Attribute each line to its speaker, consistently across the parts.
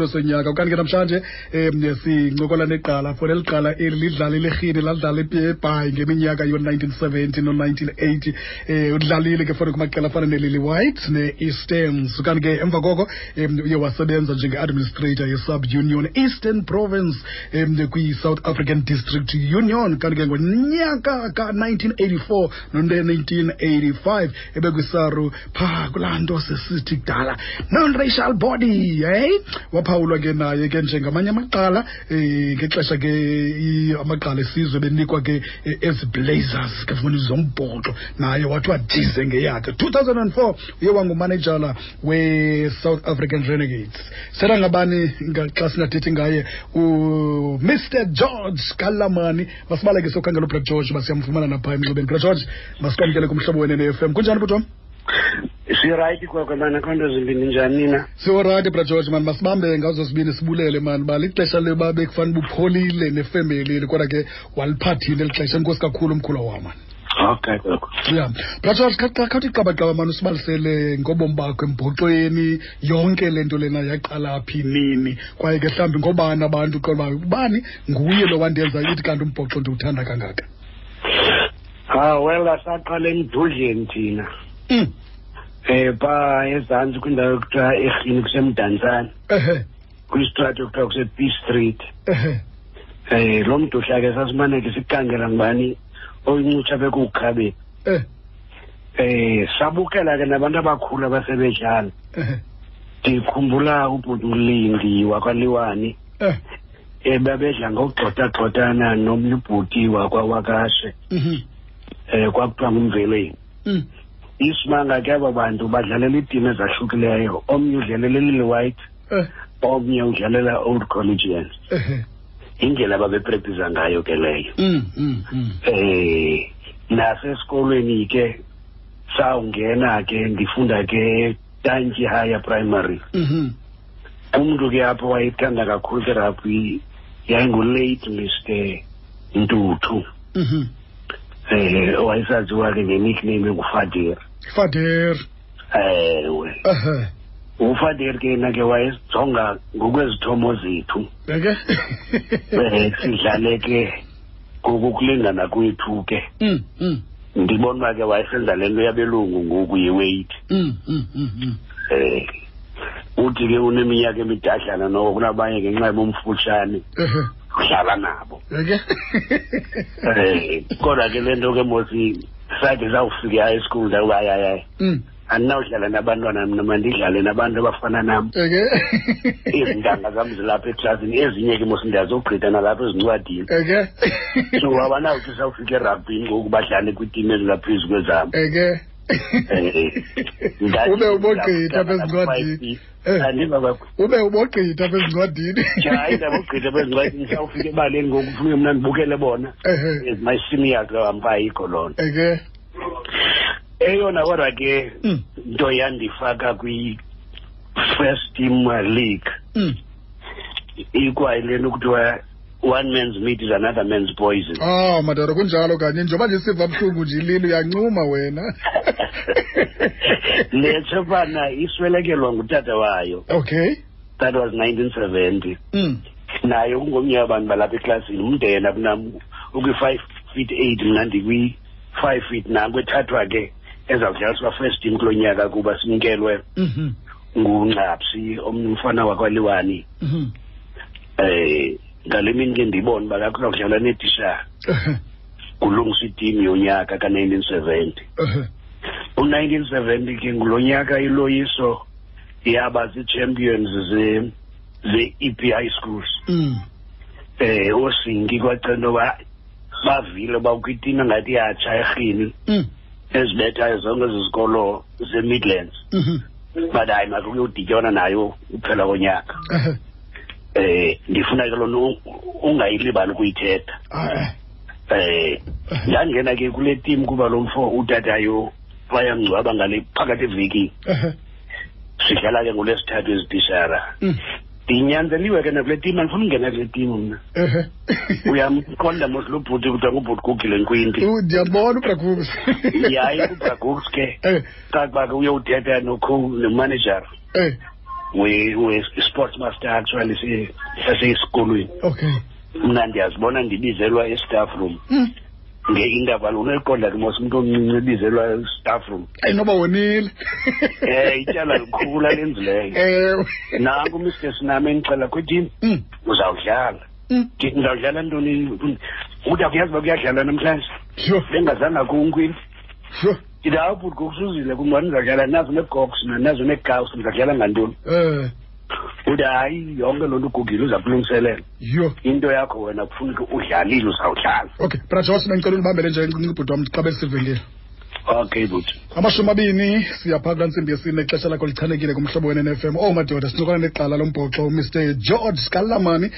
Speaker 1: losonyaka ukanti ke namhlanje um sincokola neqala for eli qala eli lidlala ilerhini ladlala ebhayi ngeminyaka yo-1970 no-1980 um udlalile ke fona kumaqela afana nelily white ne-easterns ukanti ke emva koko um uye wasebenza njenge-administrator ye-sub-union eastern province um kwi-south african district union kanti ke ngonyaka ka-1984 no-1985 ebekwisaru phaa kulaa nto sesithi kudala non-racial body hey waphawulwa ke naye ke njengamanye amaqala um ngexesha ke i- amaqala esizwe benikwa ke eh, eziblazers ke funa zombhoxo naye wathiwa dize ngeyakhe 2004 uye wangumanejala we-south african renegades sera ngabani nga- xa singathethi ngaye umr george kalamani masibaleke sokhangela ublack george basiyamfumana napha emnxibeni bra george masikwamkele kumhlobo wene ne-f m kunjani butwam
Speaker 2: sirayithi kwakho mani akho nto zimbini njani na
Speaker 1: siorayiti bra george mani masibambe ngazo zibini sibulele mani uba lixesha leba bekufanele bupholile nefemelile kodwa ke waliphathile eli xesha enkosi kakhulu umkhula wamani
Speaker 2: okay kwakho
Speaker 1: ya bra george kha- kha- khawuthi qabaqaba mani usibalisele ngobomi bakho embhoxweni yonke le nto lena yaqala phi nini kwaye ke mhlawumbi ngobani abantu qolba ubani nguye lo wandenza ithi kanti umbhoxo ndiwuthanda kangaka
Speaker 2: ah well asaqala emdudleni thina
Speaker 1: Mm,
Speaker 2: um phaa ezantsi kwindawo ekuthiwa erhini kusemdantsane
Speaker 1: ehe
Speaker 2: kwistrato ekuthiwa kuse-b street
Speaker 1: ehe
Speaker 2: um lo mdudla ke sasimaneke sikukangela ngubani oyincutsha bekuwukhabeni
Speaker 1: eh
Speaker 2: um sabukela ke nabantu abakhulu abasebedlala
Speaker 1: ehe
Speaker 2: ndikhumbula ubhuti wakwaliwani
Speaker 1: eh
Speaker 2: um babedla ngokugxotagxotana nomnye ubhuti wakwawakashe
Speaker 1: mhm,
Speaker 2: um kwakuthiwa ngumveleni
Speaker 1: mm,
Speaker 2: isimanga ke aba bantu badlalela iitim ezahlukileyo omnye udlalela elili white
Speaker 1: eh,
Speaker 2: omnye udlalela old collegians
Speaker 1: ehe
Speaker 2: indlela ababeprektisa ngayo ke leyo
Speaker 1: Mm, mm, mm.
Speaker 2: um nasesikolweni ke sawungena ke ndifunda ke tantyi higher primary
Speaker 1: Mhm.
Speaker 2: umntu ke apho wayethanda kakhulu ke raphi yayingulate mr ntuthu
Speaker 1: Mhm.
Speaker 2: um owayesaziwa ke ngenickname engufadir
Speaker 1: Fader.
Speaker 2: ewe
Speaker 1: Ehe.
Speaker 2: ufadir ke yena ke wayesijonga ngokwezithomo zethu
Speaker 1: Beke. Eh.
Speaker 2: um sidlale ke ngokukulingana kwethu ke
Speaker 1: Mm, mm,
Speaker 2: ndibona uba ke wayesenza le nto yabelungu ngoku yeweyiti
Speaker 1: mm, mm, mm, mm.
Speaker 2: um uthi ke uneminyaka emidadlana noko kunabanye ngenxa yabomfutshane
Speaker 1: Ehe.
Speaker 2: udlala nabo
Speaker 1: Beke. Eh.
Speaker 2: um kodwa ke le nto ke mosi sakhe zawufika esikulu ndakuba ayayayi
Speaker 1: Mm.
Speaker 2: andinawudlala nabantwana mna mandidlale nabantu abafana nam
Speaker 1: Beke.
Speaker 2: izintanga zam zilapha eklasini ezinye ke mosi ndiyazogqitha nalapha ezincwadini
Speaker 1: Beke.
Speaker 2: so abanawuthi sawufika erabhini ngoku badlale kwitim ezingaphezu kwezabo
Speaker 1: Beke.
Speaker 2: Ndathi-
Speaker 1: Ube ubogqitha apha
Speaker 2: Five
Speaker 1: ezincwadini.
Speaker 2: feet.
Speaker 1: Eh,
Speaker 2: andiva kakhulu
Speaker 1: Ube ubogqitha apha ezincwadini.
Speaker 2: hayi ndabogqitha bezincwadini sawufika ebaleni ngoku funeke mna ndibukele bona
Speaker 1: Ehe.
Speaker 2: my-seniors ampayikho loo nto
Speaker 1: Beke.
Speaker 2: eyona kodwa ke
Speaker 1: Mm,
Speaker 2: nto yandifaka kwi-first team league
Speaker 1: mm.
Speaker 2: ikwayile nto kuthiwa one man's meat is another man's poison
Speaker 1: Ah, madoda kunjalo kanye njengoba nje siva buhlungu nje ililo uyancuma wena.
Speaker 2: letsho bana iswelekelwa ngutata wayo
Speaker 1: Okay.
Speaker 2: that was 1970
Speaker 1: Mm.
Speaker 2: naye kungomnye wabantu balapha eklasini umndena kunam ukwi-five feet eight mna ndikwi-five feet nakwethathwa ke ezawudlaliswa first team kulo nyaka kuba simkelwe
Speaker 1: Mhm.
Speaker 2: ngungcapsi omnye umfana wakwaliwani
Speaker 1: Mhm.
Speaker 2: um ngale mini ke ndibone uba kakho kudlalwa netishara
Speaker 1: Eh,
Speaker 2: kulungiswa itim yonyaka ka-nineteen seventy
Speaker 1: eh.
Speaker 2: u-nineteen seventy ke ngulo nyaka iloyiso yaba zii-champions ze- ze-e p i schools
Speaker 1: Mm.
Speaker 2: um oosinki kwacento ba bavile uba kwitima ngathi yatsha erhini
Speaker 1: Mm.
Speaker 2: ezibethayo zonke zizikolo ze-midlands
Speaker 1: Mhm.
Speaker 2: but hayi makuyodityana nayo uphela konyaka
Speaker 1: Eh,
Speaker 2: um ndifuna ke lona u- ungayilibali ukuyithetha
Speaker 1: ah,
Speaker 2: um
Speaker 1: eh.
Speaker 2: ndangena ke kule tim kuba lo mfo utatayo bayamngcwaba ngale phakathi evekini
Speaker 1: Eh,
Speaker 2: sidlala ke ngolwesithathu ezitishara
Speaker 1: mm.
Speaker 2: ndinyanzeliwe ke nakule tim andifuna ukungena kule tim mna
Speaker 1: Eh.
Speaker 2: uyamqonda mos lo bhuti kuthiwa ngubhuti gugile nkwinti
Speaker 1: U- ndiyambona ubragus
Speaker 2: yaye kubragooks ke
Speaker 1: Eh,
Speaker 2: kakuba ke uyowuthetha nokho nomanejara
Speaker 1: eh.
Speaker 2: we-sports master actually se- sasesikolweni
Speaker 1: okay
Speaker 2: mna ndiyazibona ndibizelwa e-staff room
Speaker 1: Mm.
Speaker 2: nge-interval uneqonda ke mos umntu omncinci ebizelwa e-staff room
Speaker 1: ayi noba wonile
Speaker 2: um ityala likhulu alenzileyo
Speaker 1: ewe
Speaker 2: nanku umr sinam endixela kwithini
Speaker 1: Eh, Mm,
Speaker 2: uzawudlala
Speaker 1: mm.
Speaker 2: ndithi ndizawudlala ntoni uthi akuyazi uba kuyadlalwa namhlanje
Speaker 1: yho
Speaker 2: bengazanga kunkwini
Speaker 1: yho
Speaker 2: ndithi awubhuti ngokusuzile kum wani ndizawudlala nazo neegoks nazo neekawusi ndizawudlala ngantoni
Speaker 1: eh
Speaker 2: uthi hayi yonke loo nto ugugile uza kulungiselela
Speaker 1: yho
Speaker 2: into yakho wena kufuneka udlalile uzawudlala
Speaker 1: okay bratos bendicela undibambele nje encinci ubhuti wam xa besivengile
Speaker 2: okay buti
Speaker 1: amashumi abini siyaphaa kwantsimbi yesine ixesha lakho lichanekile kumhlobo wene nefm oh madoda sincokola neqala lombhoxo umr george kalamani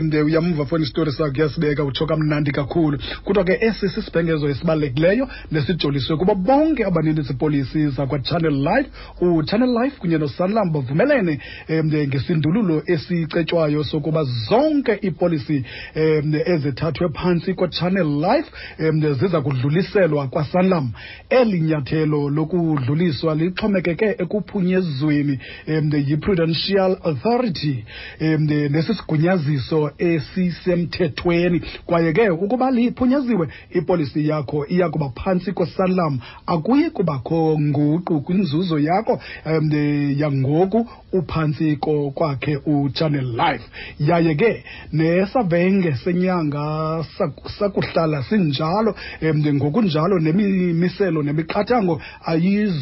Speaker 1: um uyamva foni isitori sakho uyasibeka utsho kamnandi kakhulu kuthiwa ke esi sisibhengezo esibalulekileyo nesijoliswe kuba bonke abaninzi polisi zakwachannel life uchannel life kunye nosanlam bavumelene um ngesindululo esicetywayo sokuba zonke iipolisi um ezithathwe phantsi kwachannel life um ziza kudluliselwa kwasanlam eli nyathelo lokudluliswa lixhomekeke ekuphunyezweni um yi-prudential authority um nesisigunyaziso esisemthethweni kwaye ke ukuba liphunyeziwe ipolisi yakho iya kuba phantsi kwesanlam akuyi kubakho nguqu kwinzuzo yakho um yangoku uphantsi ko- kwakhe uchannel life yaye ke nesavenge senyanga saku- sakuhlala sinjalo um ngokunjalo nemimiselo nemiqathango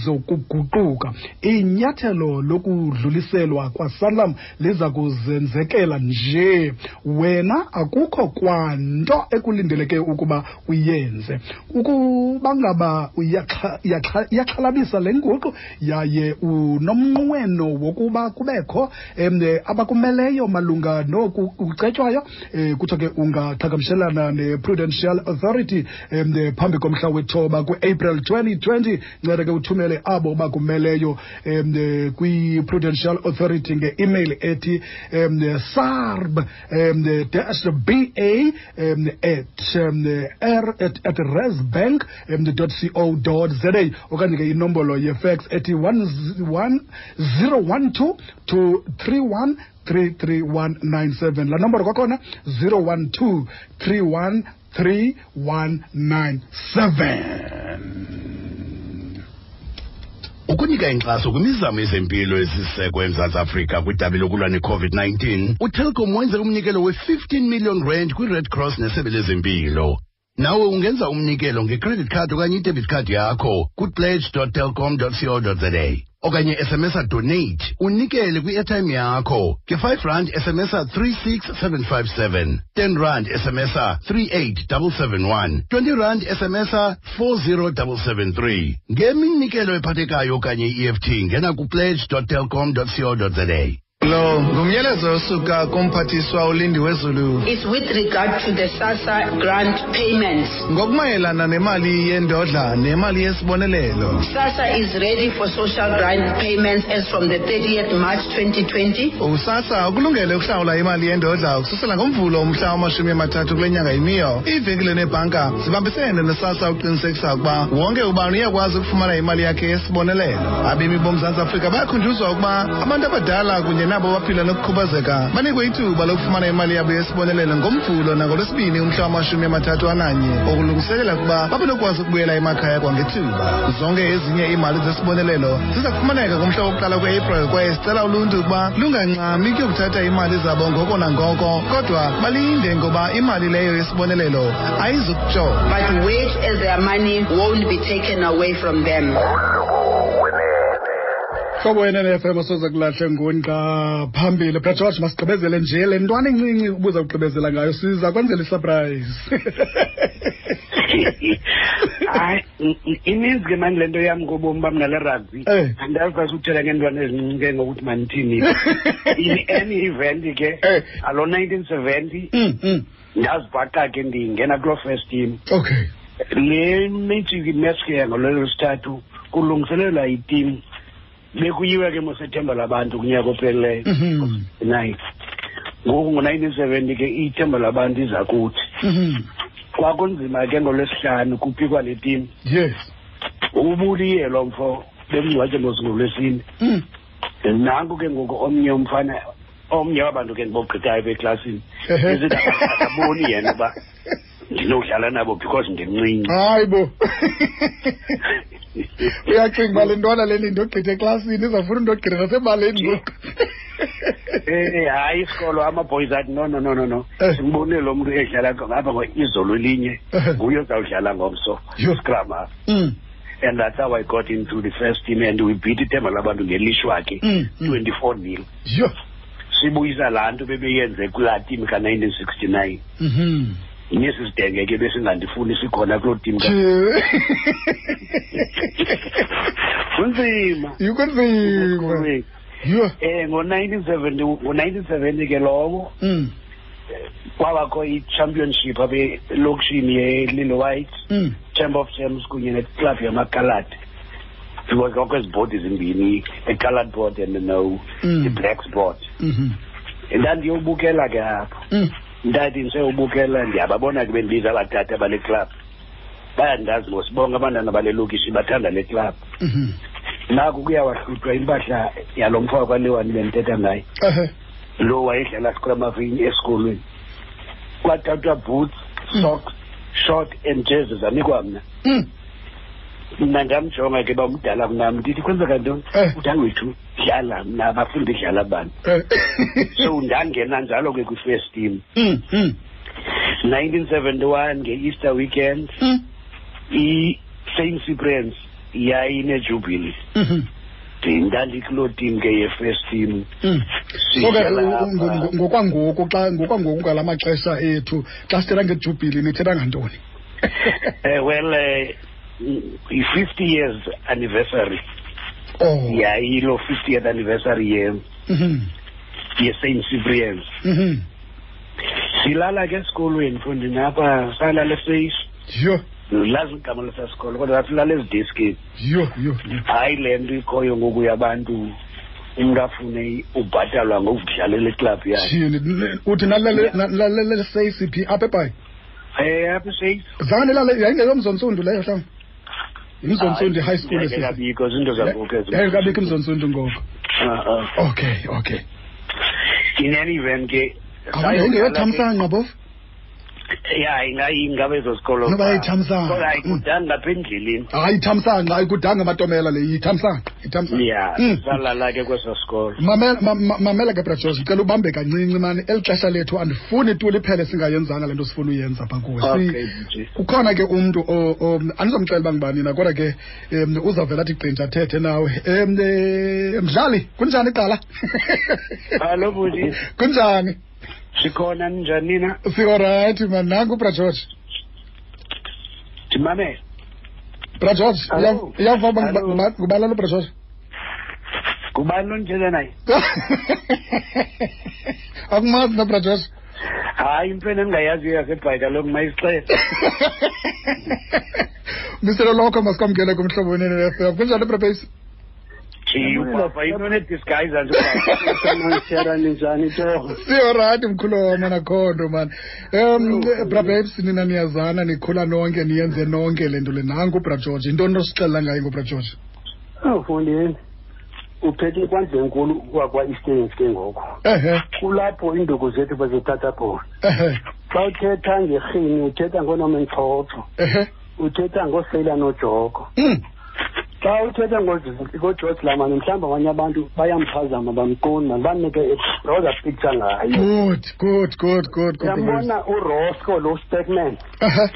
Speaker 1: ayizokuguquka inyathelo lokudluliselwa kwasanlam liza kuzenzekela nje wena akukho kwanto ekulindeleke ukuba uyenze ukuba ngaba uyaxha- yaxha- iyaxhalabisa le nguqu yaye unomnqweno wokuba kubekho um abakumeleyo malunga noku kucetywayo um kuthiwa ke ungaqhagamshelana ne-prudential authority um phambi komhla wethoba ku-april 2020 nceda ke uthumele abo bakumeleyo um kwi-prudential authority nge-email ethi um sarb um dash ba um at um r at, at resbank um dot co dot za okanye ke inombolo yefex ethi 1 012 to 31 33197 laa nombolo kwakhona 012 31 3197
Speaker 3: ukunika inkxaso kwimizamo yezempilo esisekwe emzantsi afrika kwidabi lokulwa ne-covid-19 utelkom wenze umnikelo we-15 million rand kwi-red cross nesebe lezempilo nawe ungenza umnikelo ngecredit card okanye idebit card yakho kupledge telkom co za okanye sms donate unikele kwi-airtime yakho nge-5 rand sms 36757 10 rand sms 38771 20 rand sms 40773 ngeminikelo ephathekayo okanye i-eft ngena kupledge telkom co za
Speaker 4: lo ngumyalezo osuka kumphathiswa ulindiwe zulu
Speaker 5: is with regard to the SASA grant payments.
Speaker 4: ngokumayelana nemali yendodla nemali yesibonelelo
Speaker 5: SASA is ready for social grant payments as from the 30th March 2020.
Speaker 4: usasa ukulungele ukuhlawula imali yendodla ukususela ngomvulo umhla wamashumi amathathu kule nyanga imiyo iivenkile nebhanka zibambisene nesasa ukuqinisekisa ukuba wonke ubani uyakwazi ukufumana imali yakhe yesibonelelo abemi bomzantsi afrika bayakhunjuzwa ukuba abantu abadala kunye nabo baphila nokukhubazeka banikwe ithuba lokufumana imali yabo yesibonelelo ngomvulo nangolwesibini umhla wamashumi amathathu ananye okulungiselela ukuba babenokwazi ukubuyela emakhaya kwangethuba zonke ezinye iimali zesibonelelo ziza kufumaneka kumhla wokuqala kwe-april kwaye sicela uluntu ukuba lunganxami kuyokuthatha imali zabo ngoko nangoko kodwa balinde ngoba imali leyo yesibonelelo ayizukutshona
Speaker 5: But wait as their money won't be taken away from them.
Speaker 1: hlobo wenenefm soze kulahle ngunqa phambili brad george masigqibezele nje le ntwana incinci ubuza kugqibezela ngayo siza kwenzela isurprise
Speaker 2: hayi i- i- ininzi ke mani le nto yam ngobomi bam nale rugby
Speaker 1: Eh.
Speaker 2: andazi xa sukuthela ngeentwana ezincinci ke ngokuthi mandithini in any event ke
Speaker 1: Eh.
Speaker 2: alo nineteen seventy
Speaker 1: Mm, mm.
Speaker 2: ndazibhaqa ke ndingena kuloo first team
Speaker 1: okay
Speaker 2: le mejiki match ke yangololwesithathu kulungiselelwa itim bekuyiwe ke mosethemba labantu kunyaka opheleleyo
Speaker 1: Mhm,
Speaker 2: nine ngoku ngo-nineteen seventy ke ithemba labantu iza kuthi
Speaker 1: mhm.
Speaker 2: kwakunzima ke ngolwesihlanu kuphikwa le tim
Speaker 1: yes
Speaker 2: ubuliyelwa mfo bemngcwatywe mosingolwesine
Speaker 1: Mm,
Speaker 2: nanku ke ngoku omnye umfana omnye wabantu ke ndibogqithayo apha eklasini
Speaker 1: Ehe.
Speaker 2: ndisithi akaboni yena uba ndinodlala nabo because ndimncinci
Speaker 1: hayi bo uyacinga uba le ntwana leni ndogqitha eklasini izawufuna ndogqitha nasebaleni ngoku
Speaker 2: Eh, eh, hayi isikolo amaboys athi no no no no no
Speaker 1: Eh.
Speaker 2: simbonile lo mntu edlala ngapha ngoizolo elinye
Speaker 1: Eh.
Speaker 2: nguye ozawudlala ngomso
Speaker 1: Yho.
Speaker 2: scrum half.
Speaker 1: Mm,
Speaker 2: and that's how i got into the first team and we beat ithemba labantu ngelishwa ke
Speaker 1: mm, mm.
Speaker 2: twenty-four nil
Speaker 1: yho
Speaker 2: sibuyisa laa nto bebeyenze kulaa team ka-nineteen sixty-nine
Speaker 1: Mhm.
Speaker 2: nesi sidenge ke besingandifuni sikhona kuloo team ka-
Speaker 1: Tshee.
Speaker 2: kunzima
Speaker 1: yukunzima
Speaker 2: um
Speaker 1: yho
Speaker 2: ngo-nineteen seventy ngo-nineteen seventy ke lowo
Speaker 1: Mm,
Speaker 2: kwabakho i-championship apha elokishini yelilo white
Speaker 1: mm.
Speaker 2: chamber of champs kunye neclub yamakalad because kwakho ezi bhodi zimbini ekalad board and no
Speaker 1: Mm.
Speaker 2: i-blacks board
Speaker 1: Mhm.
Speaker 2: ndandiyobukela ke apho
Speaker 1: Mm.
Speaker 2: ndathi ndiseyobukela ndiyababona ke bendibiza abatata bale club bayandazi ngosibonke abantwana bale lokishi bathanda le club
Speaker 1: Mhm.
Speaker 2: naku kuyawahluthwa impahla yalo mfaka kwaliwani bendithetha ngaye
Speaker 1: Ehe.
Speaker 2: lo wayedlala sikramavini esikolweni kwathathwa boots socks short and jezi zanikwa mna
Speaker 1: Mm.
Speaker 2: mna ndamjonga ke uba mdala kunam ndithi kwenzeka ntoni
Speaker 1: Eh.
Speaker 2: uthi hayi wethu dlala mna abafundi dlala bani
Speaker 1: Eh.
Speaker 2: so ndangena njalo ke kwi-first team
Speaker 1: Mm, mm,
Speaker 2: 1971 nge-easter weekend
Speaker 1: mm.
Speaker 2: i-st cyprians yayinejubilee
Speaker 1: Mhm.
Speaker 2: ndindandikuloo team ke ye-first team
Speaker 1: Mm. So ke
Speaker 2: Sidlala
Speaker 1: u- u- ngo-
Speaker 2: apha.
Speaker 1: ngo- ngokwangoku xa ngokwangoku ngala maxesha ethu xa sithetha ngejubhili nithetha ngantoni
Speaker 2: Eh, well eh, i-fifty years anniversary
Speaker 1: oh
Speaker 2: yayiloo fiftieth anniversary ye-
Speaker 1: Mhm.
Speaker 2: ye-st cyprians
Speaker 1: Mhm.
Speaker 2: silala ke esikolweni fondini apha salala eface
Speaker 1: yho
Speaker 2: lazi igama lesasikolo kodwa sasilala ezidiskini
Speaker 1: yho yho yho.
Speaker 2: hayi le nto ikhoyo ngoku yabantu umntu afune i- ubhatalwa ngokudlalela iklabhu yakhe
Speaker 1: Shini, n- uthi nalalele nalalele seyisiphi apha ebhayi
Speaker 2: um apha eface
Speaker 1: zange lale yayingeyomzontsundu leyo mhlawumbi imzontsundu high school Eh,
Speaker 2: Hayi,
Speaker 1: esi-
Speaker 2: yayingekabikho zinto zangoku ezi-
Speaker 1: yayingekabikho imzontsundu ngoko
Speaker 2: Ah, ah.
Speaker 1: okay okay
Speaker 2: in any event ke
Speaker 1: abantu yayingeyothamsanqa bof
Speaker 2: ya ingaba ezo zikolo
Speaker 1: Noba Mm. yayithamsanqa.
Speaker 2: Kodwa ayikudanga apha endleleni
Speaker 1: hayi ithamsanqa ayikudanga amatomela le ithamsanqa ithamsanqa
Speaker 2: ya
Speaker 1: Mm.
Speaker 2: salala ke kweso sikolo
Speaker 1: mamela ma- ma- mamela ke brajosh ndicela ubambe kancinci mani eli xesha lethu andifuni tu liphele singayenzanga le nto sifuna uyenza pha kuwe Si-
Speaker 2: Okay, DJ.
Speaker 1: ukhona ke umntu o- o- andizomcela uba ngubani na kodwa ke um uzawuvela athi qinja athethe nawe um eh, mdlali kunjani iqala
Speaker 2: Hello, Budi.
Speaker 1: kunjani
Speaker 2: sikhona ninjani nina
Speaker 1: siorayithi mani nanku ubrajosh
Speaker 2: ndimamele
Speaker 1: brajosh
Speaker 2: Hello.
Speaker 1: uyava uba nguba-
Speaker 2: Hello.
Speaker 1: nguba- ngubalala ubrajosh
Speaker 2: ngubani lonithetha naye
Speaker 1: akumazi nobrajosh
Speaker 2: hayi impena endingayaziyo yasebhayi kaloku mayisixele
Speaker 1: Mr. Lokho masikwamkele kumhlobo wenene we-FM. Kunjani Brabase?
Speaker 2: Gee, ubaba into onedisguise É njani torho
Speaker 1: Siyorati mkhulu wama nakhondo man. Um Brabase nina niyazana nikhula nonke niyenze nonke le nto le nangu Bra George. Into onosixelela ngayo ngo Bra George.
Speaker 2: ufundini uphethe inkwandla enkulu kwakwa-easterns ke ngoko
Speaker 1: Ehhe.
Speaker 2: kulapho iinduku zethu bazithatha khona
Speaker 1: Ehhe.
Speaker 2: xa uthetha ngerhini uthetha ngoonomentlotho
Speaker 1: Ehhe.
Speaker 2: uthetha ngooseyila nojoko
Speaker 1: Mm.
Speaker 2: xa uthetha ngo- ngogeorge lamani mhlawumbi abanye abantu bayamphazama bamqondi nabanike roza picture ngayo
Speaker 1: Good, good, good, good, good. Brababes.
Speaker 2: uyambona urosco lo stekman
Speaker 1: Ehhe.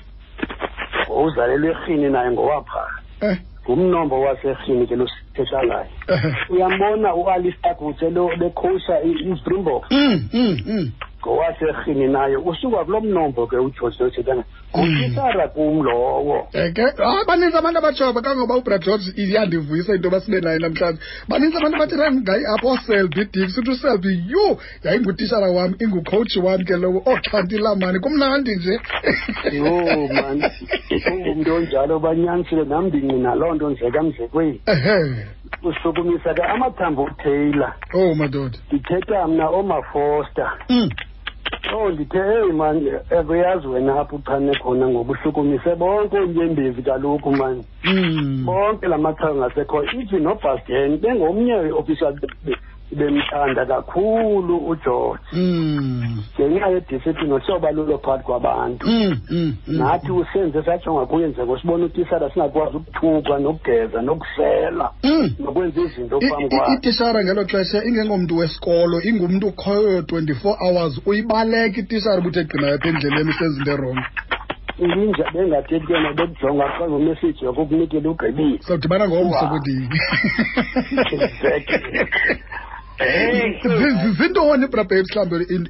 Speaker 2: uzalelwe erhini naye ngowaphaa
Speaker 1: Eh,
Speaker 2: ngumnombo waserhini ke losithetha ngayo
Speaker 1: ehhe.
Speaker 2: uyambona ualistair gutse lekhosha ispringbok
Speaker 1: Mm, mm, mm.
Speaker 2: ngowaserhini naye usuka kulo mnombo ke ugeorge losithetha ngayo ngutitara kum lowo
Speaker 1: Eke, ah baninzi abantu abatshoba kangoba ubra george iyandivuyisa into basibe naye namhlanje baninzi abantu abathetha ngaye apho oselby dix uthi uselby yho yayingutishara wam ingucoach wam ke lowo oxhanti lamani kumnandi nje
Speaker 2: yho mani ungumntu onjalo banyanisile nam ndingqina loo nto ndlekamdlekweni
Speaker 1: ehe
Speaker 2: usukumisa ke amathambo utaylor
Speaker 1: oh madoda
Speaker 2: ndithetha mna oomafoster
Speaker 1: mm.
Speaker 6: oh ndithe eyi mani ekuyazi wena apho uchane khona ngoba uhlukumise bonke unyembezi kaloku mani
Speaker 1: Mm.
Speaker 6: bonke la machanga asekhoyo ithi nobastien bengomnye official bemthanda kakhulu ugeorge
Speaker 1: Mm.
Speaker 6: ngenxa yedisciplini osobalulo phakathi kwabantu
Speaker 1: Mm. Mm. Mm.
Speaker 6: nathi usenze sajonga kuye njengo sibona utishala singakwazi ukuthuka nokugeza nokusela
Speaker 1: Mm.
Speaker 6: nokwenza izinto
Speaker 1: I-
Speaker 6: phambi
Speaker 1: i-
Speaker 6: kwakhe
Speaker 1: itishara ngelo xesha ingengomntu wesikolo ingumntu ukhoyo 24 hours uyibaleka itishara ubuthi egqina yapha endleleni usezinto erongo
Speaker 6: ilinja bengathethi yena bekujonga xa ngomesiji yokukunikela ugqibile
Speaker 1: sawudibana ngomso
Speaker 6: Wow.
Speaker 1: kudini
Speaker 6: Exactly. Hey.
Speaker 1: Zi- zi- zintoni brabhe mhlawumbi